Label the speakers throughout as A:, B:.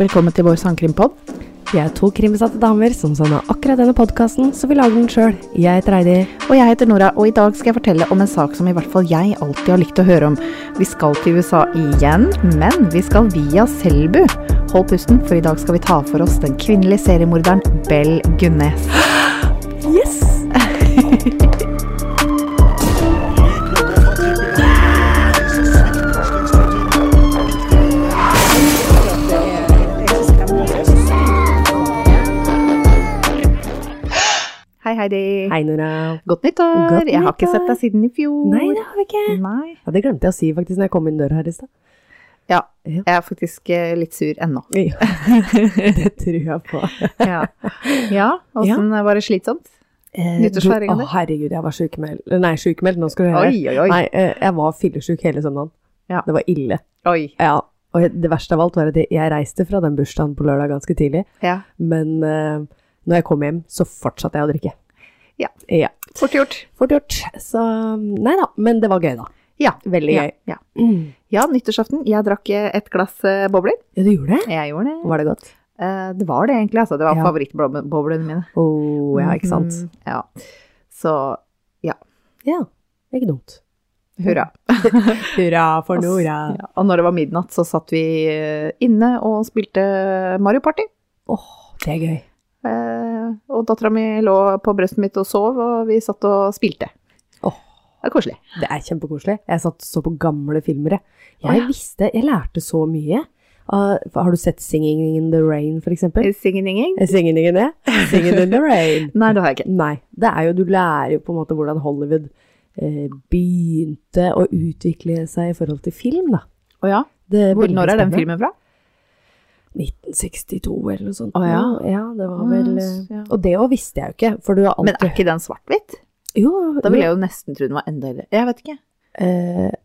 A: Velkommen til vår sangkrimpod.
B: Vi er to krimbesatte damer som savna akkurat denne podkasten, så vi lager den sjøl. Jeg heter Heidi.
A: Og jeg heter Nora, og i dag skal jeg fortelle om en sak som i hvert fall jeg alltid har likt å høre om. Vi skal til USA igjen, men vi skal via Selbu. Hold pusten, for i dag skal vi ta for oss den kvinnelige seriemorderen Bell Gunnes.
B: Yes!
A: Hei, Heidi.
B: Hei, Nora.
A: Godt nyttår.
B: Godt
A: Jeg har ikke
B: nyttår.
A: sett deg siden i fjor.
B: Nei, det har vi ikke.
A: Nei.
B: Ja, det glemte jeg å si faktisk når jeg kom inn døra her i stad.
A: Ja,
B: Ja.
A: jeg er faktisk eh, litt sur ennå.
B: det tror jeg på.
A: Ja, åssen eh, var det slitsomt?
B: Eh,
A: Nyttårsfeiringen
B: Å,
A: din?
B: herregud, jeg var sykemeldt. Nei, sykemeldt, nå skal du høre.
A: Oi, oi, oi.
B: Nei, eh, jeg var fyllesyk hele søndagen.
A: Ja.
B: Det var ille.
A: Oi.
B: Ja, og det verste av alt var at jeg reiste fra den bursdagen på lørdag ganske tidlig,
A: Ja.
B: men eh, når jeg kom hjem, så fortsatte jeg å drikke.
A: Ja.
B: Ja.
A: Fort gjort.
B: Fort gjort. Så mm, nei da, men det var gøy, da.
A: Ja.
B: Veldig
A: Ja,
B: gøy. Mm.
A: ja. ja, nyttårsaften. Jeg drakk eh, et glass eh, bobler.
B: Ja, du gjorde det?
A: Jeg gjorde det.
B: Var det godt?
A: Eh, Det var det egentlig, altså. Det var
B: Ja.
A: favorittboblene mine.
B: Å ja, ikke sant.
A: Mhm, Ja. Så
B: Ja, ikke dumt.
A: hurra.
B: Hurra for
A: Ass,
B: Nora.
A: Ja. Og når det var midnatt, så satt vi eh, inne og spilte Mario Party.
B: Åh, det er gøy.
A: Eh, Og dattera mi lå på brøstet mitt og sov, og vi satt og spilte.
B: Åh.
A: Det er koselig.
B: Det er kjempekoselig. Jeg satt og så på gamle filmer, jeg.
A: Å,
B: Jeg
A: ja.
B: visste, jeg lærte så mye. Ah, har du sett 'Singing in the Rain', for eksempel?
A: Singeninging?
B: Eh, 'Singing in the, Singing in the Rain'.
A: Nei, det har jeg ikke.
B: Nei. Det er jo, du lærer jo på en måte hvordan Hollywood eh, begynte å utvikle seg i forhold til film, da.
A: Å ja?
B: Det er
A: Hvor,
B: veldig
A: når er den
B: spennende.
A: filmen fra?
B: 1962 eller noe sånt.
A: Å, ja.
B: det var
A: Å,
B: vel
A: s-
B: eh,
A: Ah, ja.
B: Og det òg visste jeg jo ikke, for du har
A: Men er
B: alltid
A: ikke den svart-hvitt?
B: Jo,
A: Da ville jeg jo nesten tro den var enda eldre. Jeg vet ikke.
B: eh,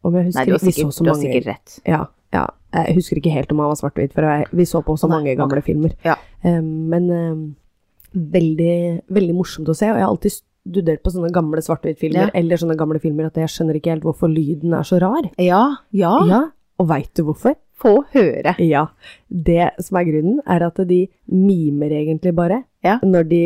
B: Om jeg husker
A: Nei, du har
B: ikke, vi så
A: sikkert,
B: så
A: du har
B: mange
A: sikkert rett.
B: ja, ja. Jeg husker ikke helt om han var svart-hvit, for jeg, vi så på så
A: Å, nei,
B: mange gamle filmer.
A: Ja.
B: Eh, men eh, veldig, veldig morsomt å se, og jeg har alltid studert på sånne gamle svart-hvit-filmer,
A: Ja.
B: eller sånne gamle filmer, at jeg skjønner ikke helt hvorfor lyden er så rar.
A: Ja, ja.
B: Ja, og veit du hvorfor?
A: Få høre.
B: Ja. Det som er grunnen, er at de mimer egentlig bare
A: Ja.
B: når de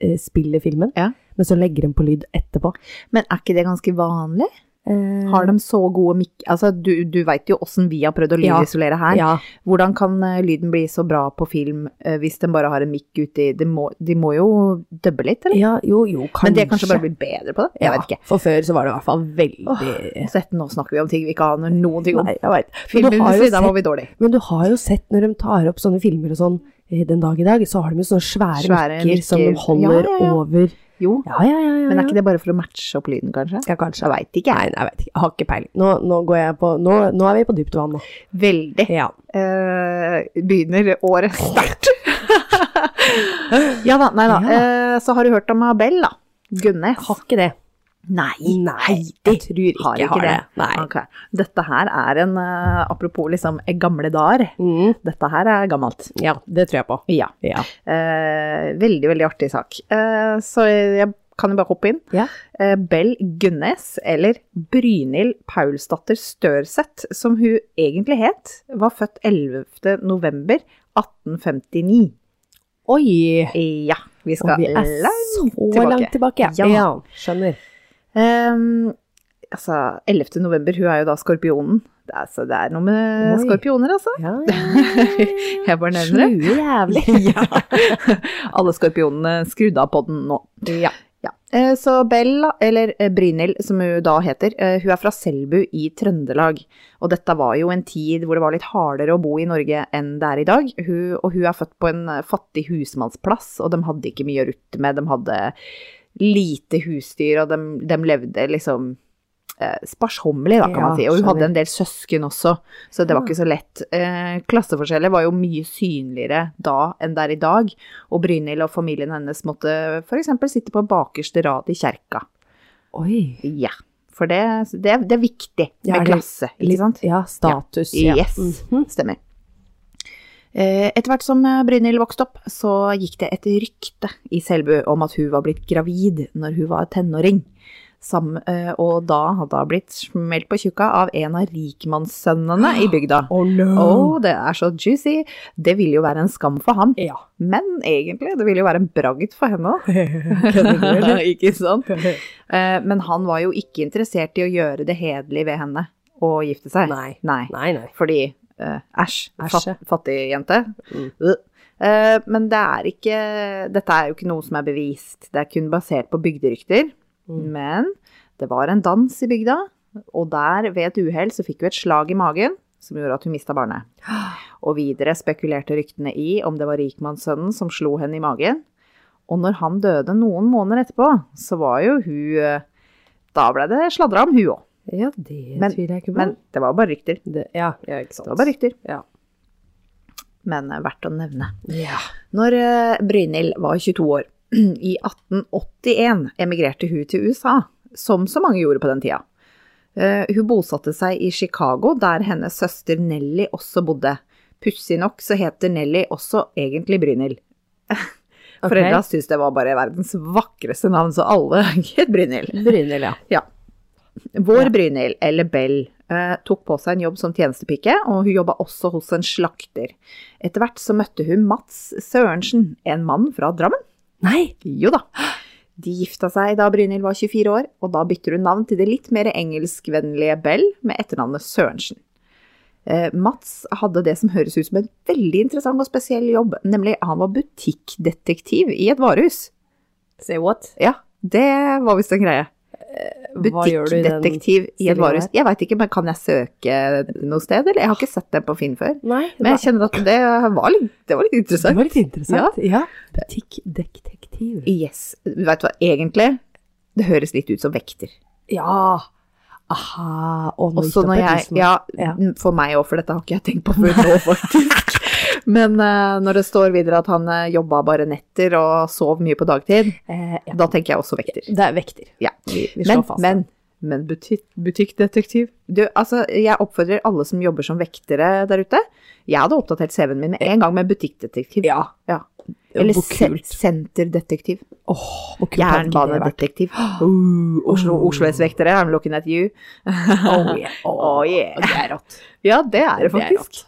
B: eh, spiller filmen,
A: Ja.
B: men så legger de på lyd etterpå.
A: Men er ikke det ganske vanlig?
B: Eh,
A: Har de så gode mikk... Altså, du, du veit jo åssen vi har prøvd å
B: Ja.
A: lydisolere her.
B: Ja,
A: Hvordan kan eh, lyden bli så bra på film eh, hvis den bare har en mikk uti de må, de må jo dubbe litt, eller?
B: ja, jo, jo, kanskje.
A: Men det kanskje bare blir bedre på det? Jeg
B: ja,
A: vet ikke.
B: For før så var det i hvert fall veldig
A: Så dette, nå snakker vi om ting vi ikke aner noen ting om.
B: Nei, jeg vet. Men, du har jo
A: Filmindustrien, der var
B: sett,
A: vi dårlig.
B: men du har jo sett når de tar opp sånne filmer og sånn eh, den dag i dag, så har de jo sånne svære,
A: Svære
B: mikker, som de
A: mikker.
B: holder
A: Ja, ja, ja.
B: over
A: Jo,
B: Ja, ja, ja. ja,
A: men er
B: ja.
A: ikke det bare for å matche opp lyden, kanskje?
B: ja, kanskje.
A: Jeg veit ikke,
B: Nei, nei, jeg vet ikke. Jeg har ikke peiling. Nå, nå går jeg på Nå, nå er vi på dypt vann, nå.
A: jeg. Veldig.
B: Ja.
A: eh, begynner året sterkt. ja da, nei da. Eh, så har du hørt om Abel, da. Gunnes.
B: Har ikke det.
A: Nei.
B: jeg tror ikke
A: Har
B: jeg
A: ikke
B: har det.
A: det.
B: Nei.
A: Ok. Dette her er en eh, Apropos liksom gamle dager.
B: Mm,
A: Dette her er gammelt.
B: ja, det tror jeg på.
A: Ja.
B: Ja.
A: Eh, veldig, veldig artig sak. Eh, så jeg kan jo bare hoppe inn.
B: Ja.
A: Eh, Bell Gunnes, eller Brynhild Paulsdatter Størseth, som hun egentlig het, var født 11. november 1859.
B: Oi!
A: Ja, vi
B: Og
A: skal
B: vi er
A: langt.
B: så
A: tilbake.
B: langt tilbake.
A: Ja.
B: skjønner.
A: Ehm, altså, 11. november, hun er jo da skorpionen. Det er, så det er noe med
B: Oi.
A: skorpioner, altså.
B: Ja, ja.
A: Jeg bare nevner det.
B: Slue jævlig.
A: ja. Alle skorpionene skrudd av på den nå.
B: Ja.
A: Ja. Eh, Så Bell, eller eh, Brynhild som hun da heter, eh, hun er fra Selbu i Trøndelag. Og dette var jo en tid hvor det var litt hardere å bo i Norge enn det er i dag. Hun, og hun er født på en eh, fattig husmannsplass, og de hadde ikke mye å rutte med. De hadde lite husdyr, og de, de levde liksom eh, sparsommelig, da, kan
B: Ja,
A: man si. Og hun
B: skjønner.
A: hadde en del søsken også, så det var
B: Mm.
A: ikke så lett. Eh, klasseforskjeller var jo mye synligere da enn det er i dag, og Brynhild og familien hennes måtte f.eks. sitte på bakerste rad i kjerka.
B: Oi.
A: Ja, for det, det, det er viktig
B: Ja,
A: med
B: er det
A: klasse, ikke sant?
B: Ja, status. Ja.
A: Yes,
B: Mhm.
A: stemmer. Eh, Etter hvert som eh, Brynhild vokste opp, så gikk det et rykte i Selbu om at hun var blitt gravid når hun var tenåring. Sam, eh, og da hadde hun blitt smelt på tjukka av en av rikmannssønnene i bygda.
B: Oh no!
A: Å, det er så juicy. Det ville jo være en skam for han.
B: Ja.
A: Men egentlig, det ville jo være en bragd for henne òg.
B: Kødder du, eller?
A: ikke sant? Eh, Men han var jo ikke interessert i å gjøre det hederlig ved henne å gifte seg.
B: Nei. Nei, nei.
A: Fordi eh, æsj,
B: Æsje.
A: fat, fattig jente.
B: Mm.
A: Øh. Eh, men det er ikke Dette er jo ikke noe som er bevist. Det er kun basert på bygderykter.
B: Mm.
A: Men det var en dans i bygda, og der ved et uhell så fikk hun et slag i magen som gjorde at hun mista barnet. Og videre spekulerte ryktene i om det var rikmannssønnen som slo henne i magen. Og når han døde noen måneder etterpå, så var jo hun eh, Da ble det sladra om hun òg.
B: Ja, det
A: Men-
B: tviler jeg ikke på.
A: Men det var bare rykter.
B: det, ja, ja, ikke sant.
A: Det var bare rykter.
B: Ja.
A: Men eh, verdt å nevne.
B: Ja.
A: Når eh, Brynhild var 22 år, i 1881 emigrerte hun til USA, som så mange gjorde på den tida. Eh, Hun bosatte seg i Chicago, der hennes søster Nelly også bodde. Pussig nok så heter Nelly også egentlig Brynhild.
B: Ok.
A: Foreldra syntes det var bare verdens vakreste navn, så alle het Brynhild.
B: Brynhild, ja.
A: Vår
B: Ja.
A: Brynhild, eller Bell, eh, tok på seg en jobb som tjenestepike, og hun jobba også hos en slakter. Etter hvert så møtte hun Mats Sørensen, en mann fra Drammen.
B: Nei!
A: Jo da. De gifta seg da Brynhild var 24 år, og da bytter hun navn til det litt mer engelskvennlige Bell med etternavnet Sørensen. Eh, Mats hadde det som høres ut som en veldig interessant og spesiell jobb, nemlig han var butikkdetektiv i et varehus.
B: Say what?
A: Ja, det var visst en greie.
B: Eh, Hva gjør du i den
A: Butikkdetektiv i et
B: stillingen
A: varehus. Jeg veit ikke, men kan jeg søke noe sted, eller? Jeg har ikke sett det på Finn før.
B: Nei,
A: Men jeg kjenner at det var litt, det var litt
B: det
A: interessant.
B: var litt interessant. Ja. Butikkdetektiv.
A: Yes. Veit du hva, egentlig det høres litt ut som vekter.
B: Ja! Aha. Og
A: Også når jeg Ja, mm,
B: Ja.
A: for meg òg, for dette har ikke jeg tenkt på før nå, faktisk. Men eh, når det står videre at han uh, jobba bare netter og sov mye på dagtid,
B: Eh, ja.
A: da tenker jeg også vekter.
B: Det er vekter.
A: Ja.
B: Vi, vi slår
A: Men,
B: fast
A: men, men butikk, butikkdetektiv du, altså, Jeg oppfordrer alle som jobber som vektere der ute. Jeg hadde oppdatert CV-en min med en gang med
B: det.
A: butikkdetektiv.
B: Ja.
A: Ja.
B: Det
A: Eller
B: var kult.
A: se- senterdetektiv.
B: Åh, hvor kult hadde ikke det vært?
A: Jernbanedetektiv. Uh, Oslo,
B: Oh.
A: Oslo S-vektere, I'm looking at you.
B: Oh, yeah.
A: Oh, yeah.
B: Det er rått.
A: Ja, det er det
B: Det er
A: faktisk.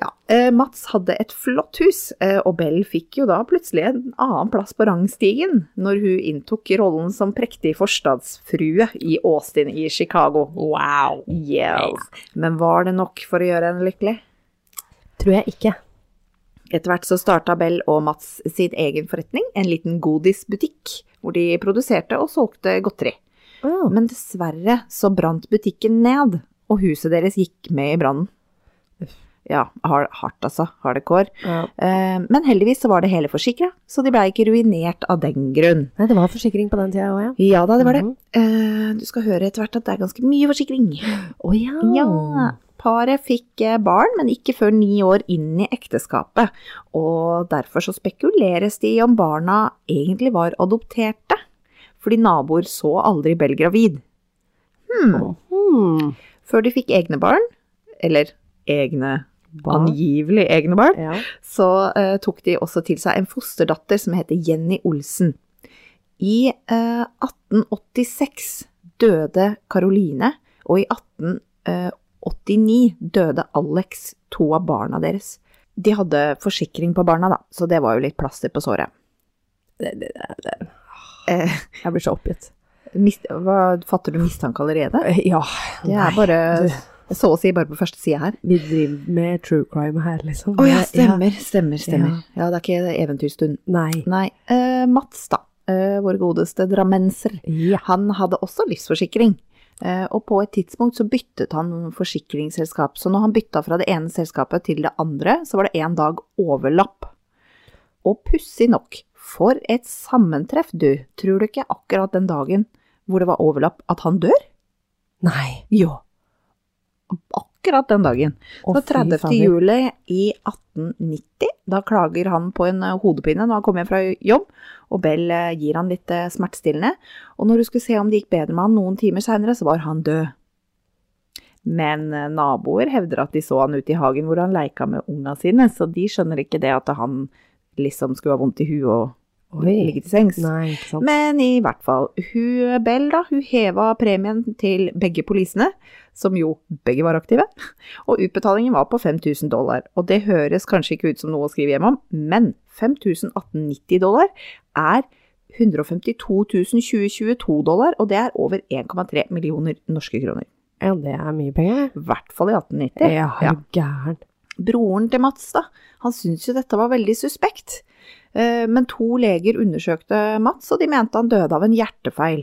A: Ja, eh, Mats hadde et flott hus, eh, og Bell fikk jo da plutselig en annen plass på rangstigen når hun inntok rollen som prektig forstadsfrue i Austin i Chicago.
B: Wow.
A: Yes. Men var det nok for å gjøre henne lykkelig?
B: Tror jeg ikke.
A: Etter hvert så starta Bell og Mats sin egen forretning, en liten godisbutikk, hvor de produserte og solgte godteri.
B: Oh.
A: Men dessverre så brant butikken ned, og huset deres gikk med i brannen. Ja, har- hardt altså, hardcore. Eh, Men heldigvis så var det hele forsikra, så de blei ikke ruinert av den grunn.
B: Nei, det var forsikring på den tida òg, ja.
A: Ja da, det var det.
B: Mhm.
A: Eh, Du skal høre etter hvert at det er ganske mye forsikring.
B: Å ja.
A: Ja. Paret fikk eh, barn, men ikke før ni år inn i ekteskapet. Og derfor så spekuleres de i om barna egentlig var adopterte. Fordi naboer så aldri Bell gravid. Hmm.
B: Hmm.
A: Før de fikk egne barn, eller egne,
B: Barn.
A: angivelig egne barn,
B: Ja.
A: så eh, tok de også til seg en fosterdatter som heter Jenny Olsen. I eh, 1886 døde Caroline, og i 1889 døde Alex, to av barna deres. De hadde forsikring på barna, da, så det var jo litt plaster på såret.
B: Det, det, det, det.
A: Eh,
B: Jeg blir så oppgitt.
A: mist, hva, fatter du mistanke allerede?
B: Ja.
A: Det er
B: Nei.
A: bare
B: du.
A: så å si bare på første side her.
B: Vi driver med true crime her, liksom.
A: Å ja,
B: Det-
A: stemmer, stemmer, stemmer. Ja, det er ikke eventyrstund.
B: Nei.
A: Nei, eh, Mats da, eh, vår godeste drammenser,
B: Ja.
A: han hadde også livsforsikring. Eh, og på et tidspunkt så byttet han forsikringsselskap, så når han bytta fra det ene selskapet til det andre, så var det en dag overlapp. Og pussig nok, for et sammentreff du, tror du ikke akkurat den dagen hvor det var overlapp at han dør?
B: Nei.
A: Jo. Akkurat den dagen.
B: Å,
A: Så
B: fy
A: 30.
B: fader.
A: juli i 1890, da klager han på en eh, hodepine når han kommer hjem fra jobb, og Bell eh, gir han litt eh, smertestillende, og når du skulle se om det gikk bedre med han noen timer senere, så var han død. Men eh, naboer hevder at de så han ute i hagen hvor han leika med unga sine, så de skjønner ikke det at han liksom skulle ha vondt i huet og ligge til sengs.
B: Nei, ikke sant.
A: Men i hvert fall, hun Bell da, hun heva premien til begge polisene, som jo begge var aktive, og utbetalingen var på 5000 dollar. Og det høres kanskje ikke ut som noe å skrive hjem om, men 5890 dollar er 152 2022 dollar, og det er over 1,3 millioner norske kroner.
B: ja, det er mye penger.
A: I hvert fall i 1890.
B: Ja, er du gæren.
A: Broren til Mats, da, han syntes jo dette var veldig suspekt. Eh, Men to leger undersøkte Mats, og de mente han døde av en hjertefeil.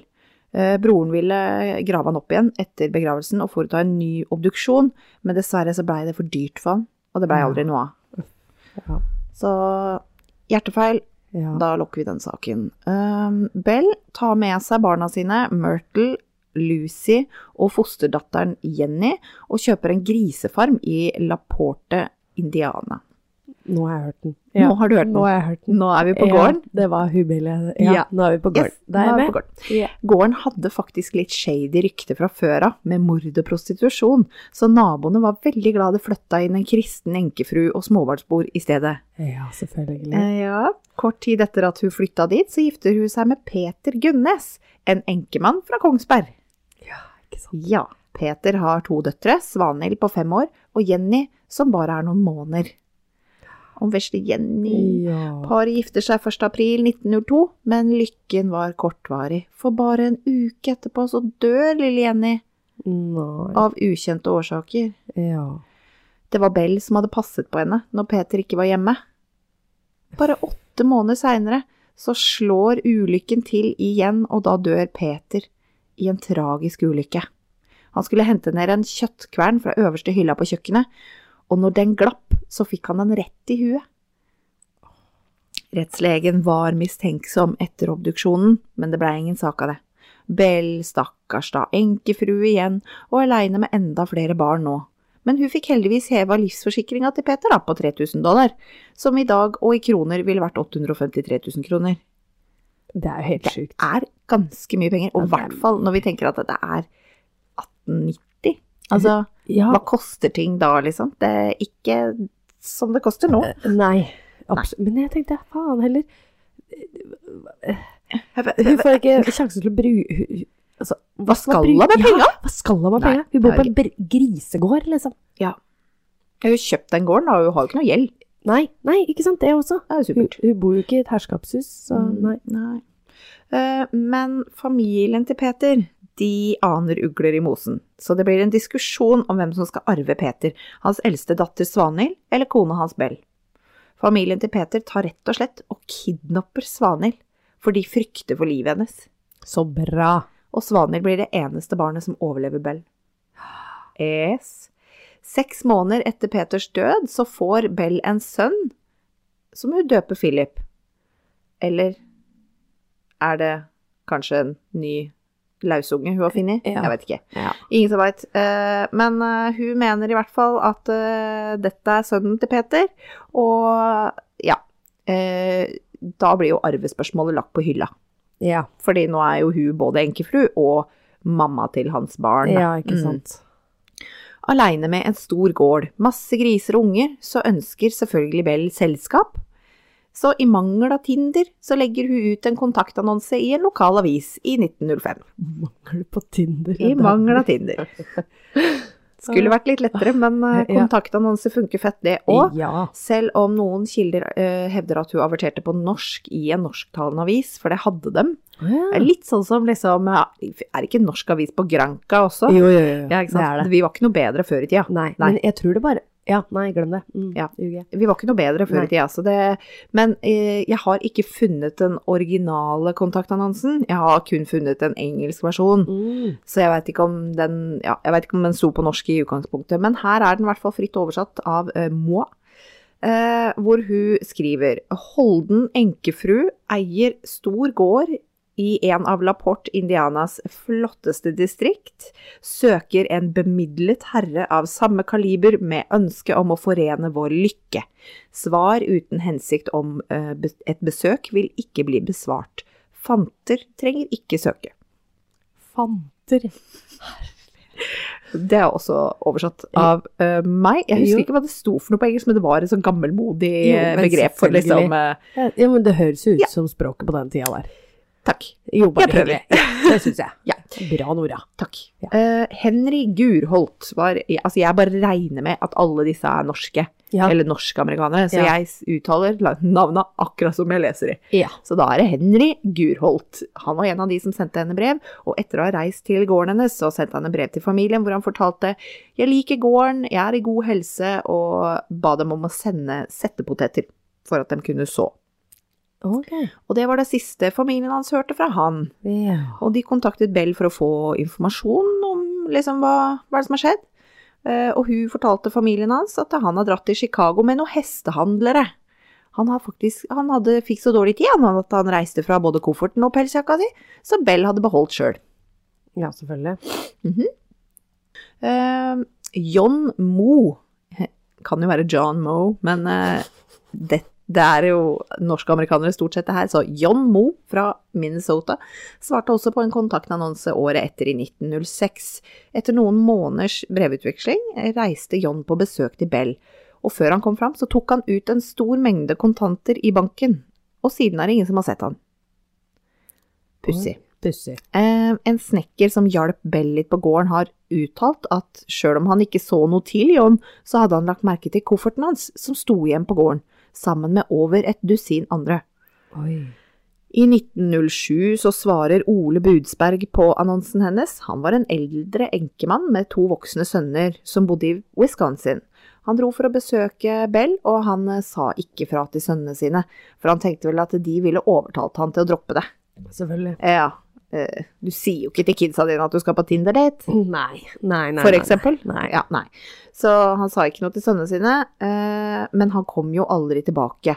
A: Eh, Broren ville grave han opp igjen etter begravelsen og foreta en ny obduksjon, men dessverre så blei det for dyrt for han, og det blei
B: Ja.
A: aldri noe av.
B: Ja.
A: Så hjertefeil,
B: Ja.
A: da lukker vi den saken. Um, Bell tar med seg barna sine, Myrtle, Lucy og fosterdatteren Jenny, og kjøper en grisefarm i La Porte, Indiana.
B: Nå har jeg hørt den.
A: Nå har du hørt
B: Nå
A: den.
B: har jeg hørt den.
A: Nå er vi på gården.
B: Ja, det var Hubelle. Ja,
A: Ja.
B: nå er vi på gården.
A: Yes,
B: da er jeg
A: nå er vi
B: med.
A: på gården.
B: Ja.
A: Gården hadde faktisk litt shady rykte fra før av, med mord og prostitusjon, så naboene var veldig glad det flytta inn en kristen enkefru og småbarnsbor i stedet.
B: ja, selvfølgelig.
A: Eh, Ja, kort tid etter at hun flytta dit, så gifter hun seg med Peter Gunnes, en enkemann fra Kongsberg.
B: Ja, ikke sant.
A: Ja, Peter har to døtre, Svanhild på fem år og Jenny, som bare er noen måneder. Om vesle Jenny
B: Ja.
A: Paret gifter seg 1. april 1902, men lykken var kortvarig, for bare en uke etterpå så dør lille Jenny
B: Nei.
A: av ukjente årsaker.
B: Ja.
A: Det var Bell som hadde passet på henne når Peter ikke var hjemme. Bare åtte måneder seinere så slår ulykken til igjen, og da dør Peter i en tragisk ulykke. Han skulle hente ned en kjøttkvern fra øverste hylla på kjøkkenet, og når den glapp, så fikk han den rett i huet. Rettslegen var mistenksom etter obduksjonen, men det blei ingen sak av det. Bell, stakkars da, enkefrue igjen, og aleine med enda flere barn nå. Men hun fikk heldigvis heva livsforsikringa til Peter da, på 3000 dollar, som i dag og i kroner ville vært 853 000 kroner.
B: Det er jo helt sjukt.
A: Er ganske mye penger, og i
B: Ja, det er-
A: hvert fall når vi tenker at det er 1890. Altså,
B: Ja.
A: hva koster ting da, liksom? Det er ikke som det koster nå.
B: Nei. Abs- Men jeg tenkte, faen heller. Hun
A: Hva
B: får ikke sjansen til å bruke hun- hun- altså, Hva
A: skal hun med penga?
B: Hva skal hun med
A: Nei,
B: penga?
A: det
B: Hun bor
A: er
B: på en br- grisegård, liksom.
A: Hun har jo kjøpt den gården, da. Hun har jo ikke noe gjeld.
B: Nei, nei, ikke sant, det
A: Det
B: også.
A: er jo
B: Hun,
A: supert.
B: hun bor jo ikke i et herskapshus, så
A: Mm,
B: nei.
A: nei. Eh, men familien til Peter, de aner ugler i mosen. Så det blir en diskusjon om hvem som skal arve Peter, hans eldste datter Svanhild eller kona hans Bell. Familien til Peter tar rett og slett og kidnapper Svanhild, for de frykter for livet hennes.
B: Så bra.
A: Og Svanhild blir det eneste barnet som overlever Bell. Yes. Seks måneder etter Peters død så får Bell en sønn, som hun døper Philip. Eller er det kanskje en ny lausunge hun har funnet?
B: Ja.
A: Jeg vet ikke.
B: Ja.
A: Ingen som veit. Men eh, hun mener i hvert fall at eh, dette er sønnen til Peter, og ja. eh, Da blir jo arvespørsmålet lagt på hylla.
B: Ja,
A: Fordi nå er jo hun både enkefru og mamma til hans barn. da.
B: ja ikke
A: Mm.
B: sant.
A: Aleine med en stor gård, masse griser og unger, så ønsker selvfølgelig Bell selskap. Så i mangel av Tinder, så legger hun ut en kontaktannonse i en lokal avis i 1905.
B: Mangel på Tinder.
A: I mangel av Tinder. Skulle vært litt lettere, men eh,
B: Ja.
A: kontaktannonse funker fett, det òg.
B: Ja.
A: Selv om noen kilder eh, hevder at hun averterte på norsk i en norsktalende avis, for det hadde dem. Det er
B: Jo,
A: litt sånn som liksom ja, Er det ikke en norsk avis på Granca også?
B: jo, jo.
A: Ja, ikke sant? Vi var ikke noe bedre før i tida.
B: Nei,
A: Nei.
B: men jeg tror det bare Ja, nei, glem det. Mm,
A: Ja.
B: ljuger jeg.
A: Vi var ikke noe bedre før
B: Nei.
A: i tida, så det Men eh, jeg har ikke funnet den originale kontaktannonsen. Jeg har kun funnet en engelsk versjon,
B: Mm.
A: så jeg veit ikke om den Ja, jeg vet ikke om den sto på norsk i utgangspunktet, men her er den i hvert fall fritt oversatt av eh, Moi. Eh, hvor hun skriver Holden enkefru eier stor gård i en av La Porte, Indianas flotteste distrikt, søker en bemidlet herre av samme kaliber med ønske om å forene vår lykke. Svar uten hensikt om eh, be- et besøk vil ikke bli besvart. Fanter trenger ikke søke.
B: Fanter.
A: Det er også oversatt av eh, meg. Jeg husker
B: Jo.
A: ikke hva det sto for noe på engelsk, men det var et sånn gammelmodig
B: Jo,
A: eh,
B: men
A: begrep for liksom
B: selvfølgelig.
A: eh,
B: Ja, ja, men det høres jo ut
A: Ja.
B: som språket på den tida der.
A: Takk.
B: Jo, bare
A: Jeg prøver.
B: hyggelig. Ja, det syns jeg.
A: Ja.
B: Bra, Nora.
A: Takk.
B: Ja.
A: Eh, Henry Gurholt var Altså, jeg bare regner med at alle disse er norske,
B: Ja.
A: eller norsk-amerikanere, så
B: Ja.
A: jeg s- uttaler la- navna akkurat som jeg leser de.
B: ja.
A: Så da er det Henry Gurholt. Han var en av de som sendte henne brev, og etter å ha reist til gården hennes, så sendte han en brev til familien hvor han fortalte «Jeg liker gården, jeg er i god helse», og ba dem om å sende settepoteter for at de kunne så.
B: Ok.
A: Og det var det siste familien hans hørte fra han.
B: Ja.
A: Og de kontaktet Bell for å få informasjon om liksom, hva, hva er det som har skjedd. Eh, og hun fortalte familien hans at han har dratt til Chicago med noen hestehandlere. Han, har faktisk, han hadde, fikk så dårlig tid han, at han reiste fra både kofferten og pelsjakka si, så Bell hadde beholdt sjøl.
B: ja, selvfølgelig.
A: Eh, John Moe he- Kan jo være John Moe, men eh, det, det er jo norske amerikanere stort sett det her. Så John Moe fra Minnesota svarte også på en kontaktannonse året etter i 1906. Etter noen måneders brevutveksling eh, reiste John på besøk til Bell, og før han kom fram så tok han ut en stor mengde kontanter i banken, og siden er det ingen som har sett han. Pussig.
B: Pussig.
A: Eh, en snekker som hjalp Bell litt på gården, har uttalt at sjøl om han ikke så noe til John, så hadde han lagt merke til kofferten hans, som sto igjen på gården, sammen med over et dusin andre.
B: Oi.
A: I 1907 så svarer Ole Budsberg på annonsen hennes. Han var en eldre enkemann med to voksne sønner som bodde i Wisconsin. Han dro for å besøke Bell, og han eh, sa ikke fra til sønnene sine, for han tenkte vel at de ville overtalt han til å droppe det.
B: Selvfølgelig.
A: Ja. eh, Du sier jo ikke til kidsa dine at du skal på Tinder-date,
B: Nei. Nei, nei.
A: for
B: nei,
A: eksempel.
B: Nei.
A: Ja, nei. Så han sa ikke noe til sønnene sine, eh, men han kom jo aldri tilbake.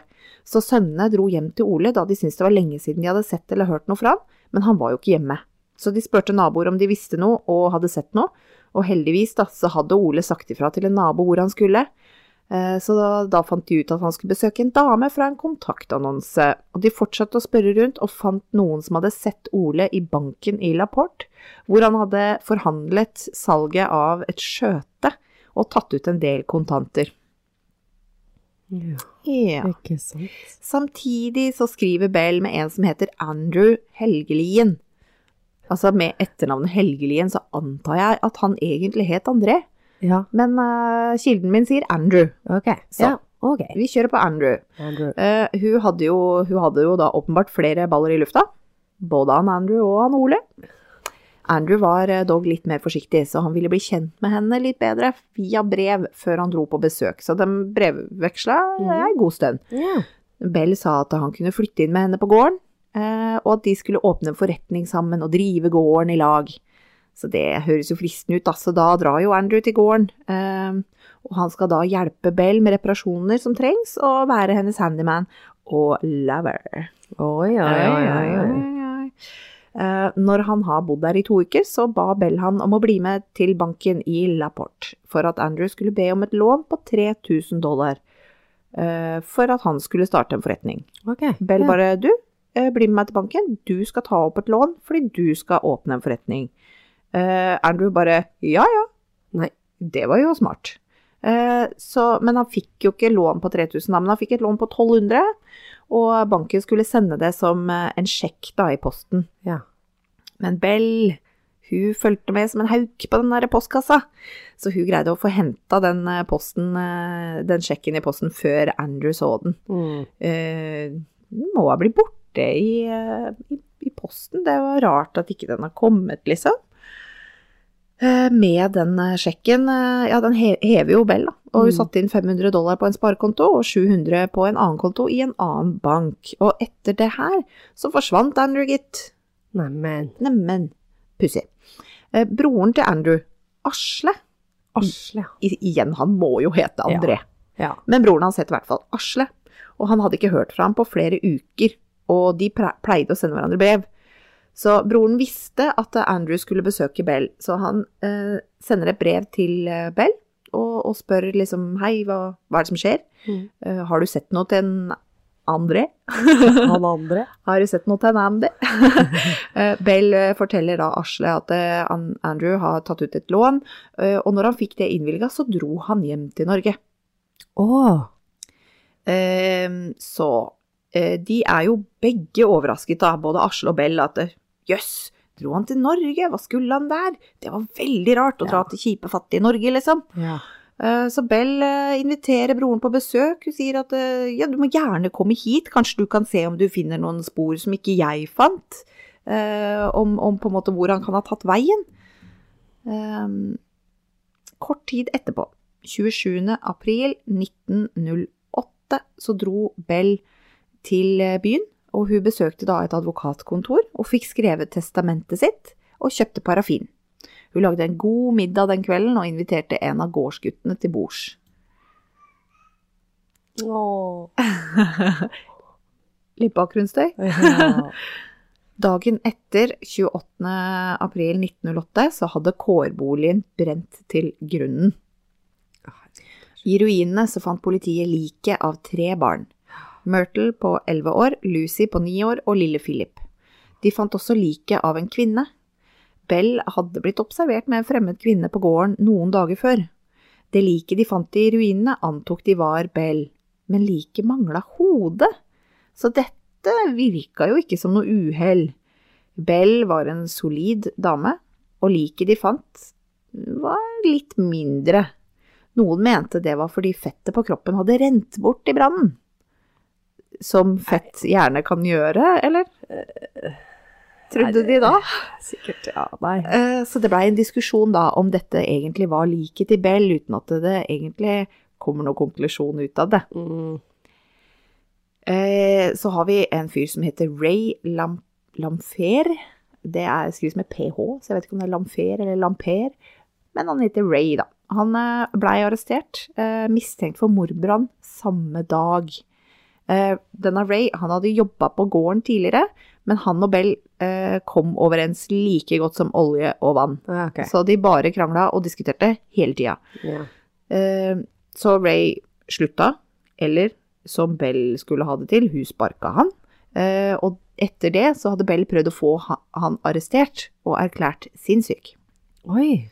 A: Så sønnene dro hjem til Ole da de syntes det var lenge siden de hadde sett eller hørt noe fra han, men han var jo ikke hjemme. Så de spurte naboer om de visste noe og hadde sett noe, og heldigvis da, så hadde Ole sagt ifra til en nabo hvor han skulle. Eh, Så da, da fant de ut at han skulle besøke en dame fra en kontaktannonse, og de fortsatte å spørre rundt og fant noen som hadde sett Ole i banken i La Porte, hvor han hadde forhandlet salget av et skjøte og tatt ut en del kontanter.
B: nei.
A: Ja.
B: Ja, ikke sant.
A: Samtidig så skriver Bell med en som heter Andrew Helgelien. Altså med etternavnet Helgelien så antar jeg at han egentlig het André,
B: Ja,
A: men eh, kilden min sier Andrew.
B: ok.
A: Så.
B: Ja, ok.
A: Vi kjører på Andrew.
B: Andrew.
A: Eh, hun, hadde jo, hun hadde jo da åpenbart flere baller i lufta. Både han Andrew og han Ole. Andrew var eh, dog litt mer forsiktig, så han ville bli kjent med henne litt bedre via brev før han dro på besøk, så de brevveksla eh, en god stund.
B: Ja.
A: Bell sa at han kunne flytte inn med henne på gården, eh, og at de skulle åpne en forretning sammen og drive gården i lag. Så det høres jo fristende ut, da, så da drar jo Andrew til gården. Eh, og han skal da hjelpe Bell med reparasjoner som trengs, og være hennes handyman og lover.
B: Oi, oi, oi, oi, oi.
A: Ai, ai. Eh, Når han har bodd der i to uker, så ba Bell han om å bli med til banken i La Porte for at Andrew skulle be om et lån på 3000 dollar eh, for at han skulle starte en forretning.
B: Ok.
A: Bell
B: Mm, ja.
A: bare du, eh, bli med meg til banken, du skal ta opp et lån fordi du skal åpne en forretning. Eh, Andrew bare ja ja.
B: Nei.
A: Det var jo smart. Eh, så, men han fikk jo ikke lån på 3000, da, men han fikk et lån på 1200. Og banken skulle sende det som eh, en sjekk da i posten.
B: Ja.
A: Men Bell, hun fulgte med som en hauk på den der postkassa. Så hun greide å få henta den, eh, posten, eh, den sjekken i posten før Andrew så den.
B: Mm.
A: Eh, den må ha blitt borte i, eh, i, i posten. Det var rart at ikke den har kommet, liksom. Eh, med den eh, sjekken eh, Ja, den he- hever jo Bell, da. Og hun
B: Mm.
A: satte inn 500 dollar på en sparekonto og 700 på en annen konto i en annen bank. Og etter det her så forsvant Andrew, gitt.
B: Neimen,
A: Neimen, pussig. Eh, broren til Andrew, Asle
B: Asle.
A: i, Igjen, han må jo hete André.
B: Ja.
A: Men broren hans het i hvert fall Asle, og han hadde ikke hørt fra ham på flere uker, og de pre- pleide å sende hverandre brev. Så broren visste at eh, Andrew skulle besøke Bell, så han eh, sender et brev til eh, Bell og, og spør liksom hei, hva, hva er det som skjer?
B: Mm.
A: Eh, har du sett noe til en André.
B: Han andre.
A: Har du sett noe til Andy? Eh, Bell eh, forteller da Asle at eh, An- Andrew har tatt ut et lån, eh, og når han fikk det innvilga, så dro han hjem til Norge.
B: Å,
A: Eh, Så eh, de er jo begge overrasket, da, både Asle og Bell, at eh, jøss, dro han til Norge, hva skulle han der? Det var veldig rart å dra
B: Ja.
A: til kjipe, fattige Norge, liksom.
B: ja.
A: Eh, Så Bell eh, inviterer broren på besøk. Hun sier at eh, ja, du må gjerne komme hit, kanskje du kan se om du finner noen spor som ikke jeg fant, eh, om, om på en måte hvor han kan ha tatt veien. Eh, Kort tid etterpå, 27. april 1908, så dro Bell til eh, byen, og hun besøkte da et advokatkontor og fikk skrevet testamentet sitt og kjøpte parafin. Hun lagde en god middag den kvelden og inviterte en av gårdsguttene til bords.
B: Å.
A: Litt bakgrunnsstøy.
B: Ja.
A: Dagen etter, 28. april 1908, så hadde kårboligen brent til grunnen. I ruinene så fant politiet liket av tre barn. Myrtle på 11 år, Lucy på 9 år og lille Philip. De fant også liket av en kvinne. Bell hadde blitt observert med en fremmed kvinne på gården noen dager før. Det liket de fant i ruinene, antok de var Bell, men liket mangla hodet. Så dette virka jo ikke som noe uhell. Bell var en solid dame, og liket de fant, var litt mindre. Noen mente det var fordi fettet på kroppen hadde rent bort i brannen. Som fett gjerne kan gjøre, eller? Trodde de da?
B: Sikkert. Ja, nei.
A: Eh, Så det blei en diskusjon da om dette egentlig var liket til Bell, uten at det egentlig kommer noen konklusjon ut av det.
B: Mm.
A: Eh, Så har vi en fyr som heter Ray Lam Lamfer. Det er skrives med ph, så jeg vet ikke om det er Lamfer eller Lamper. Men han heter Ray, da. Han eh, blei arrestert, eh, mistenkt for mordbrann samme dag. Eh, Denne Ray han hadde jobba på gården tidligere, men han og Bell eh, kom overens like godt som olje og vann.
B: Ja, ok.
A: Så de bare krangla og diskuterte hele tida.
B: Ja.
A: Eh, Så Ray slutta, eller som Bell skulle ha det til, hun sparka han. Eh, Og etter det så hadde Bell prøvd å få ha- han arrestert og erklært sinnssyk.
B: Oi.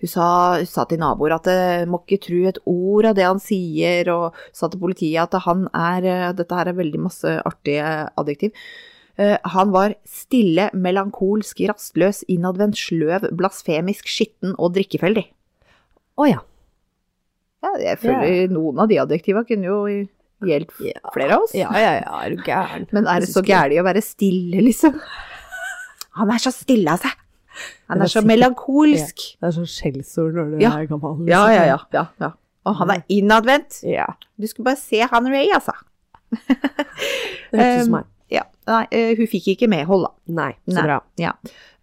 A: Hun sa, hun sa til naboer at eh, må ikke tro et ord av det han sier, og sa til politiet at han er eh, Dette her er veldig masse artige adjektiv. Eh, Han var stille, melankolsk, rastløs, innadvendt, sløv, blasfemisk, skitten og drikkefeldig.
B: Å ja.
A: Ja, jeg føler noen av de adjektiva kunne jo gjeldt f-
B: Ja.
A: flere av oss.
B: Ja, ja, ja, er du gæren?
A: Men er det så gærent å være stille, liksom? Han er så stille av seg. Han
B: Det
A: er
B: var
A: så
B: sikkert-
A: melankolsk.
B: Det er sånn skjellsord når du
A: Ja.
B: er gammel.
A: Ja,
B: liksom.
A: ja, ja. ja, ja. Og han er innadvendt.
B: Ja,
A: Du skulle bare se han Ray, altså.
B: det hørtes ut som
A: Eh,
B: meg.
A: Ja. Nei, eh, hun fikk ikke medhold, da.
B: Nei, så
A: Nei.
B: bra.
A: Ja.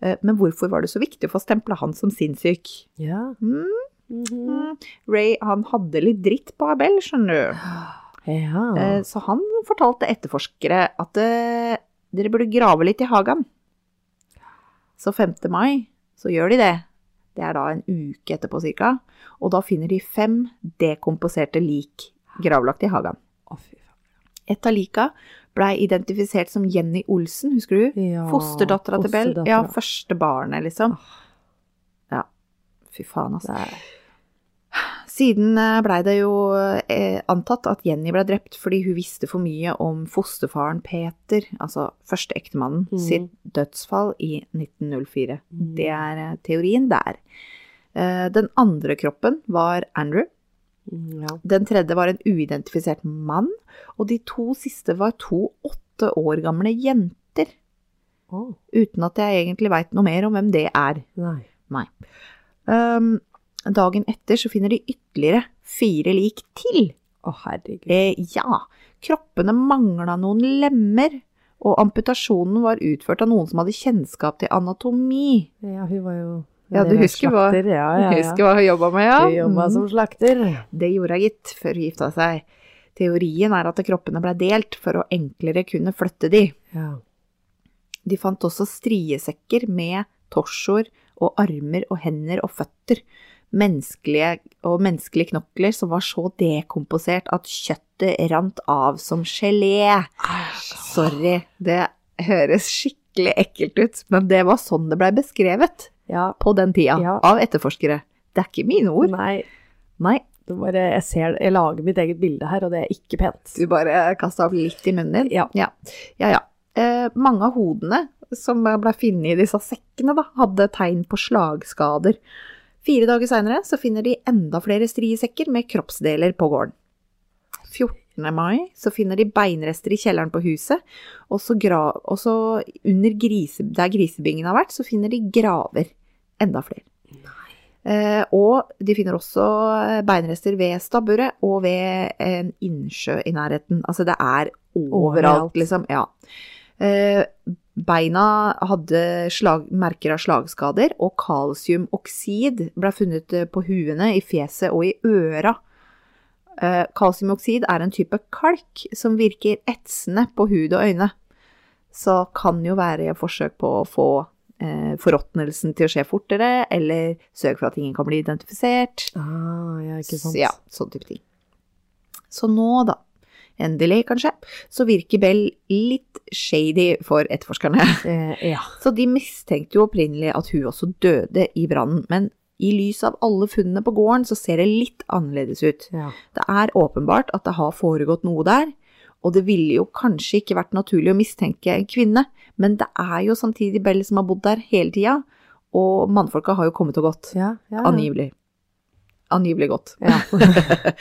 A: Eh, Men hvorfor var det så viktig å få stempla han som sinnssyk?
B: Ja.
A: Mm,
B: Mhm.
A: Ray, han hadde litt dritt på Abel, skjønner du.
B: Ja.
A: Eh, Så han fortalte etterforskere at eh, dere burde grave litt i hagen. Så 5. mai så gjør de det. Det er da en uke etterpå cirka. Og da finner de fem dekomposerte lik gravlagt i hagen.
B: Å, fy faen.
A: Et av lika blei identifisert som Jenny Olsen, husker du?
B: Ja,
A: Fosterdattera til Bell. Ja,
B: fosterdattera.
A: første barnet, liksom. Ja. Fy faen, altså.
B: Det er-
A: Siden eh, blei det jo eh, antatt at Jenny ble drept fordi hun visste for mye om fosterfaren Peter, altså førsteektemannen,
B: Mhm.
A: sitt dødsfall i 1904.
B: Mhm.
A: Det er eh, teorien der. Eh, Den andre kroppen var Andrew.
B: Mm, ja.
A: Den tredje var en uidentifisert mann. Og de to siste var to åtte år gamle jenter,
B: Å,
A: uten at jeg egentlig veit noe mer om hvem det er.
B: nei.
A: Um, dagen etter så finner de ytterligere fire lik til.
B: Å, herregud.
A: Eh, ja, kroppene mangla noen lemmer, og amputasjonen var utført av noen som hadde kjennskap til anatomi.
B: Ja, hun var jo en
A: Ja, du
B: del av
A: husker hva-
B: slakter. Ja, ja, ja.
A: Husker hva hun jobba med, ja.
B: Hun jobba
A: Mm.
B: som slakter.
A: Det gjorde hun gitt, før hun gifta seg. Teorien er at kroppene ble delt for å enklere kunne flytte de.
B: Ja.
A: De fant også striesekker med torsoer og armer og hender og føtter, menneskelige og menneskelige knokler som var så dekomposert at kjøttet rant av som gelé. Sorry, det høres skikkelig ekkelt ut, men det var sånn det blei beskrevet
B: Ja.
A: på den tida
B: Ja.
A: av etterforskere. Det er ikke mine ord.
B: Nei,
A: Nei,
B: det var, jeg, ser, jeg lager mitt eget bilde her, og det er ikke pent.
A: du bare kasta opp litt i munnen din.
B: Ja.
A: Ja, ja. ja. Eh, mange av hodene som ble funnet i disse sekkene, da, hadde tegn på slagskader. Fire dager seinere så finner de enda flere striesekker med kroppsdeler på gården. 14. mai så finner de beinrester i kjelleren på huset, og så, gra og så under grise der grisebingen har vært, så finner de graver. Enda flere. Eh, og de finner også eh, beinrester ved stabburet og ved en innsjø i nærheten. Altså det er overalt,
B: Overalt.
A: liksom. Ja. Eh, beina hadde slag, merker av slagskader, og kalsiumoksid ble funnet eh, på huene, i fjeset og i øra. Eh, kalsiumoksid er en type kalk som virker etsende på hud og øyne. Så kan jo være forsøk på å få eh, forråtnelsen til å skje fortere, eller sørge for at ingen kan bli identifisert.
B: Ah, ja, ikke sant.
A: Så, ja, sånn type ting. Så nå, da, endelig kanskje, så virker Bell litt shady for etterforskerne.
B: Eh, ja.
A: Så de mistenkte jo opprinnelig at hun også døde i brannen, men i lys av alle funnene på gården, så ser det litt annerledes ut.
B: ja.
A: Det er åpenbart at det har foregått noe der, og det ville jo kanskje ikke vært naturlig å mistenke en kvinne, men det er jo samtidig Bell som har bodd der hele tida, og mannfolka har jo kommet og gått.
B: Ja, ja.
A: Angivelig. Angivelig godt.
B: Ja.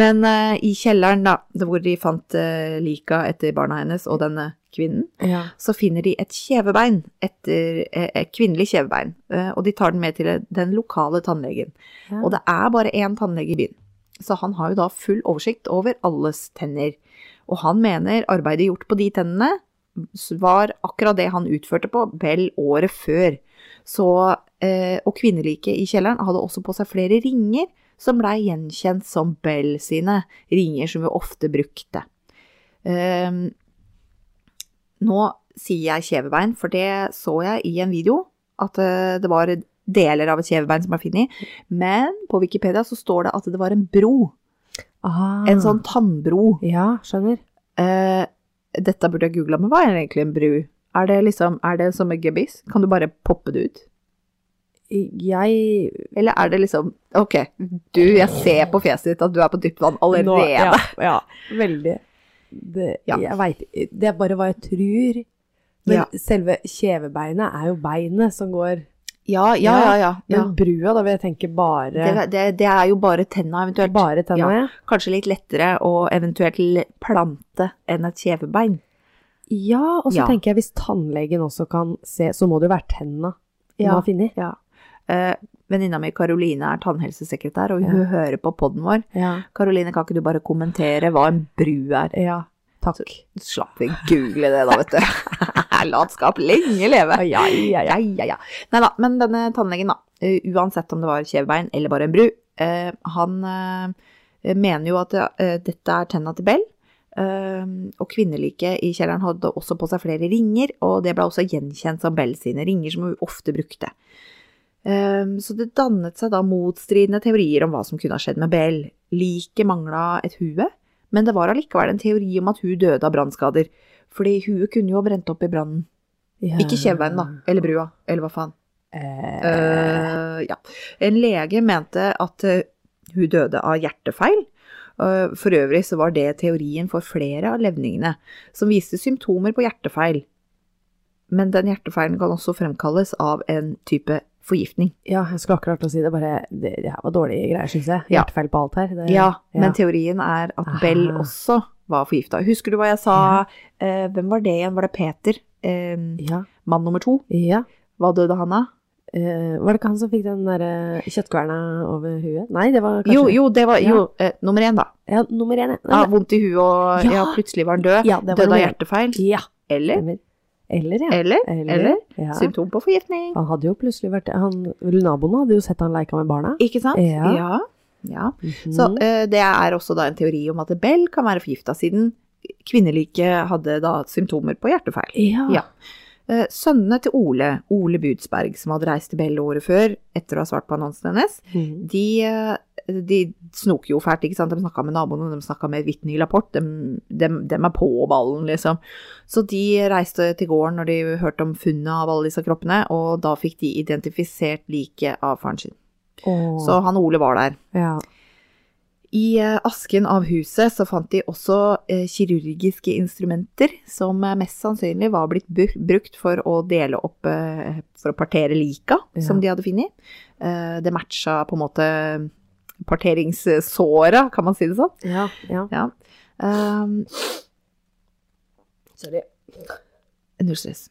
A: Men eh, i kjelleren, da, det hvor de fant uh, lika etter barna hennes og denne kvinnen,
B: ja.
A: så finner de et kjevebein, etter, eh, et kvinnelig kjevebein, eh, og de tar den med til den lokale tannlegen.
B: Ja.
A: Og det er bare én tannlege i byen, så han har jo da full oversikt over alles tenner. Og han mener arbeidet gjort på de tennene var akkurat det han utførte på Bell året før. Så, eh, og kvinneliket i kjelleren hadde også på seg flere ringer som blei gjenkjent som Bell sine, ringer som vi ofte brukte. Ehm, nå sier jeg kjevebein, for det så jeg i en video, at eh, det var deler av et kjevebein som er funnet. Men på Wikipedia så står det at det var en bro,
B: Ah.
A: en sånn tannbro.
B: Ja, skjønner.
A: Eh, dette burde jeg googla, men hva er egentlig en bru? Er det liksom, er det som en gebiss? Kan du bare poppe det ut?
B: Jeg
A: Eller er det liksom Ok, du, jeg ser på fjeset ditt at du er på dypt vann allerede.
B: Nå- ja, ja, veldig. Det,
A: Ja.
B: Jeg vet, det er bare hva jeg tror. Men
A: Ja.
B: selve kjevebeinet er jo beinet som går.
A: ja, ja, ja. ja,
B: Men
A: ja.
B: brua, da vil jeg tenke bare,
A: Det, det, det er jo bare tenna eventuelt.
B: bare tennene.
A: Kanskje litt lettere å eventuelt l- plante enn et kjevebein.
B: Ja, og så
A: Ja.
B: tenker jeg hvis tannlegen også kan se, så må det jo være tenna hun
A: Ja.
B: har funnet.
A: Ja. Eh, Venninna mi Karoline er tannhelsesekretær, og hun hører på poden vår.
B: Ja.
A: Karoline, kan ikke du bare kommentere hva en bru er?
B: ja. Takk.
A: Slapp vi google det da, vet du. Latskap lenge leve.
B: Ai, ai, ai,
A: Ja, ja, ja. Nei da, men denne tannlegen, da. eh, Uansett om det var kjevebein eller bare en bru, eh, han eh, mener jo at eh, dette er tenna til Bell. eh, og kvinneliket i kjelleren hadde også på seg flere ringer, og det ble også gjenkjent som Bell sine ringer, som hun ofte brukte. Ehm, Så det dannet seg da motstridende teorier om hva som kunne ha skjedd med Bell. Liket mangla et hue, men det var allikevel en teori om at hun døde av brannskader. Fordi huet kunne jo ha brent opp i brannen.
B: Ja.
A: Ikke kjeven, da. Eller brua. Eller hva faen.
B: Eh,
A: Eh, ja. En lege mente at eh, hun døde av hjertefeil. Eh, for øvrig så var det teorien for flere av levningene, som viste symptomer på hjertefeil. Men den hjertefeilen kan også fremkalles av en type forgiftning.
B: ja, jeg skulle akkurat til å si det, bare det, det her var dårlige greier, syns jeg.
A: Ja.
B: Hjertefeil på alt her. Det,
A: Ja, men
B: Eh, ja.
A: teorien er at
B: Aha.
A: Bell også var forgifta. Husker du hva jeg sa? Eh, hvem var det igjen? Var det Peter? Eh,
B: ja.
A: mann nummer to?
B: ja.
A: Hva døde han av?
B: Eh, var det ikke han som fikk den der eh, kjøttkverna over huet? Nei, det var kanskje
A: Jo, jo, det var
B: Ja.
A: jo, eh, nummer én, da.
B: Ja, nummer én,
A: Ja,
B: ja.
A: vondt i huet og ja.
B: Ja.
A: plutselig var han død.
B: Ja, det var
A: døde av
B: nummer én.
A: hjertefeil.
B: Ja,
A: Eller?
B: stemmer. Eller, ja.
A: Eller? Eller?
B: ja.
A: Symptom på forgiftning.
B: Han hadde jo plutselig vært han, Naboene hadde jo sett han leika med barna.
A: Ikke sant?
B: Ja.
A: ja. ja.
B: Mhm.
A: Så eh, det er også da en teori om at Bell kan være forgifta siden kvinneliket hadde da symptomer på hjertefeil.
B: ja.
A: ja. Eh, Sønnene til Ole, Ole Budsberg, som hadde reist til Bell året før etter å ha svart på annonsen hennes, de, eh, de snoker jo fælt, ikke sant. De snakka med naboene, de snakka med Whitney Laporte, de, er på ballen, liksom. Så de reiste til gården når de hørte om funnet av alle disse kroppene, og da fikk de identifisert liket av faren sin.
B: Åh,
A: Så han Ole var der.
B: ja.
A: I eh, asken av huset så fant de også eh, kirurgiske instrumenter, som eh, mest sannsynlig var blitt bu- brukt for å dele opp eh, For å partere lika
B: Ja.
A: som de hadde funnet. Eh, det matcha på en måte parteringssåra, kan man si det sånn.
B: ja, ja.
A: Ja. Um,
B: Sorry.
A: Null stress.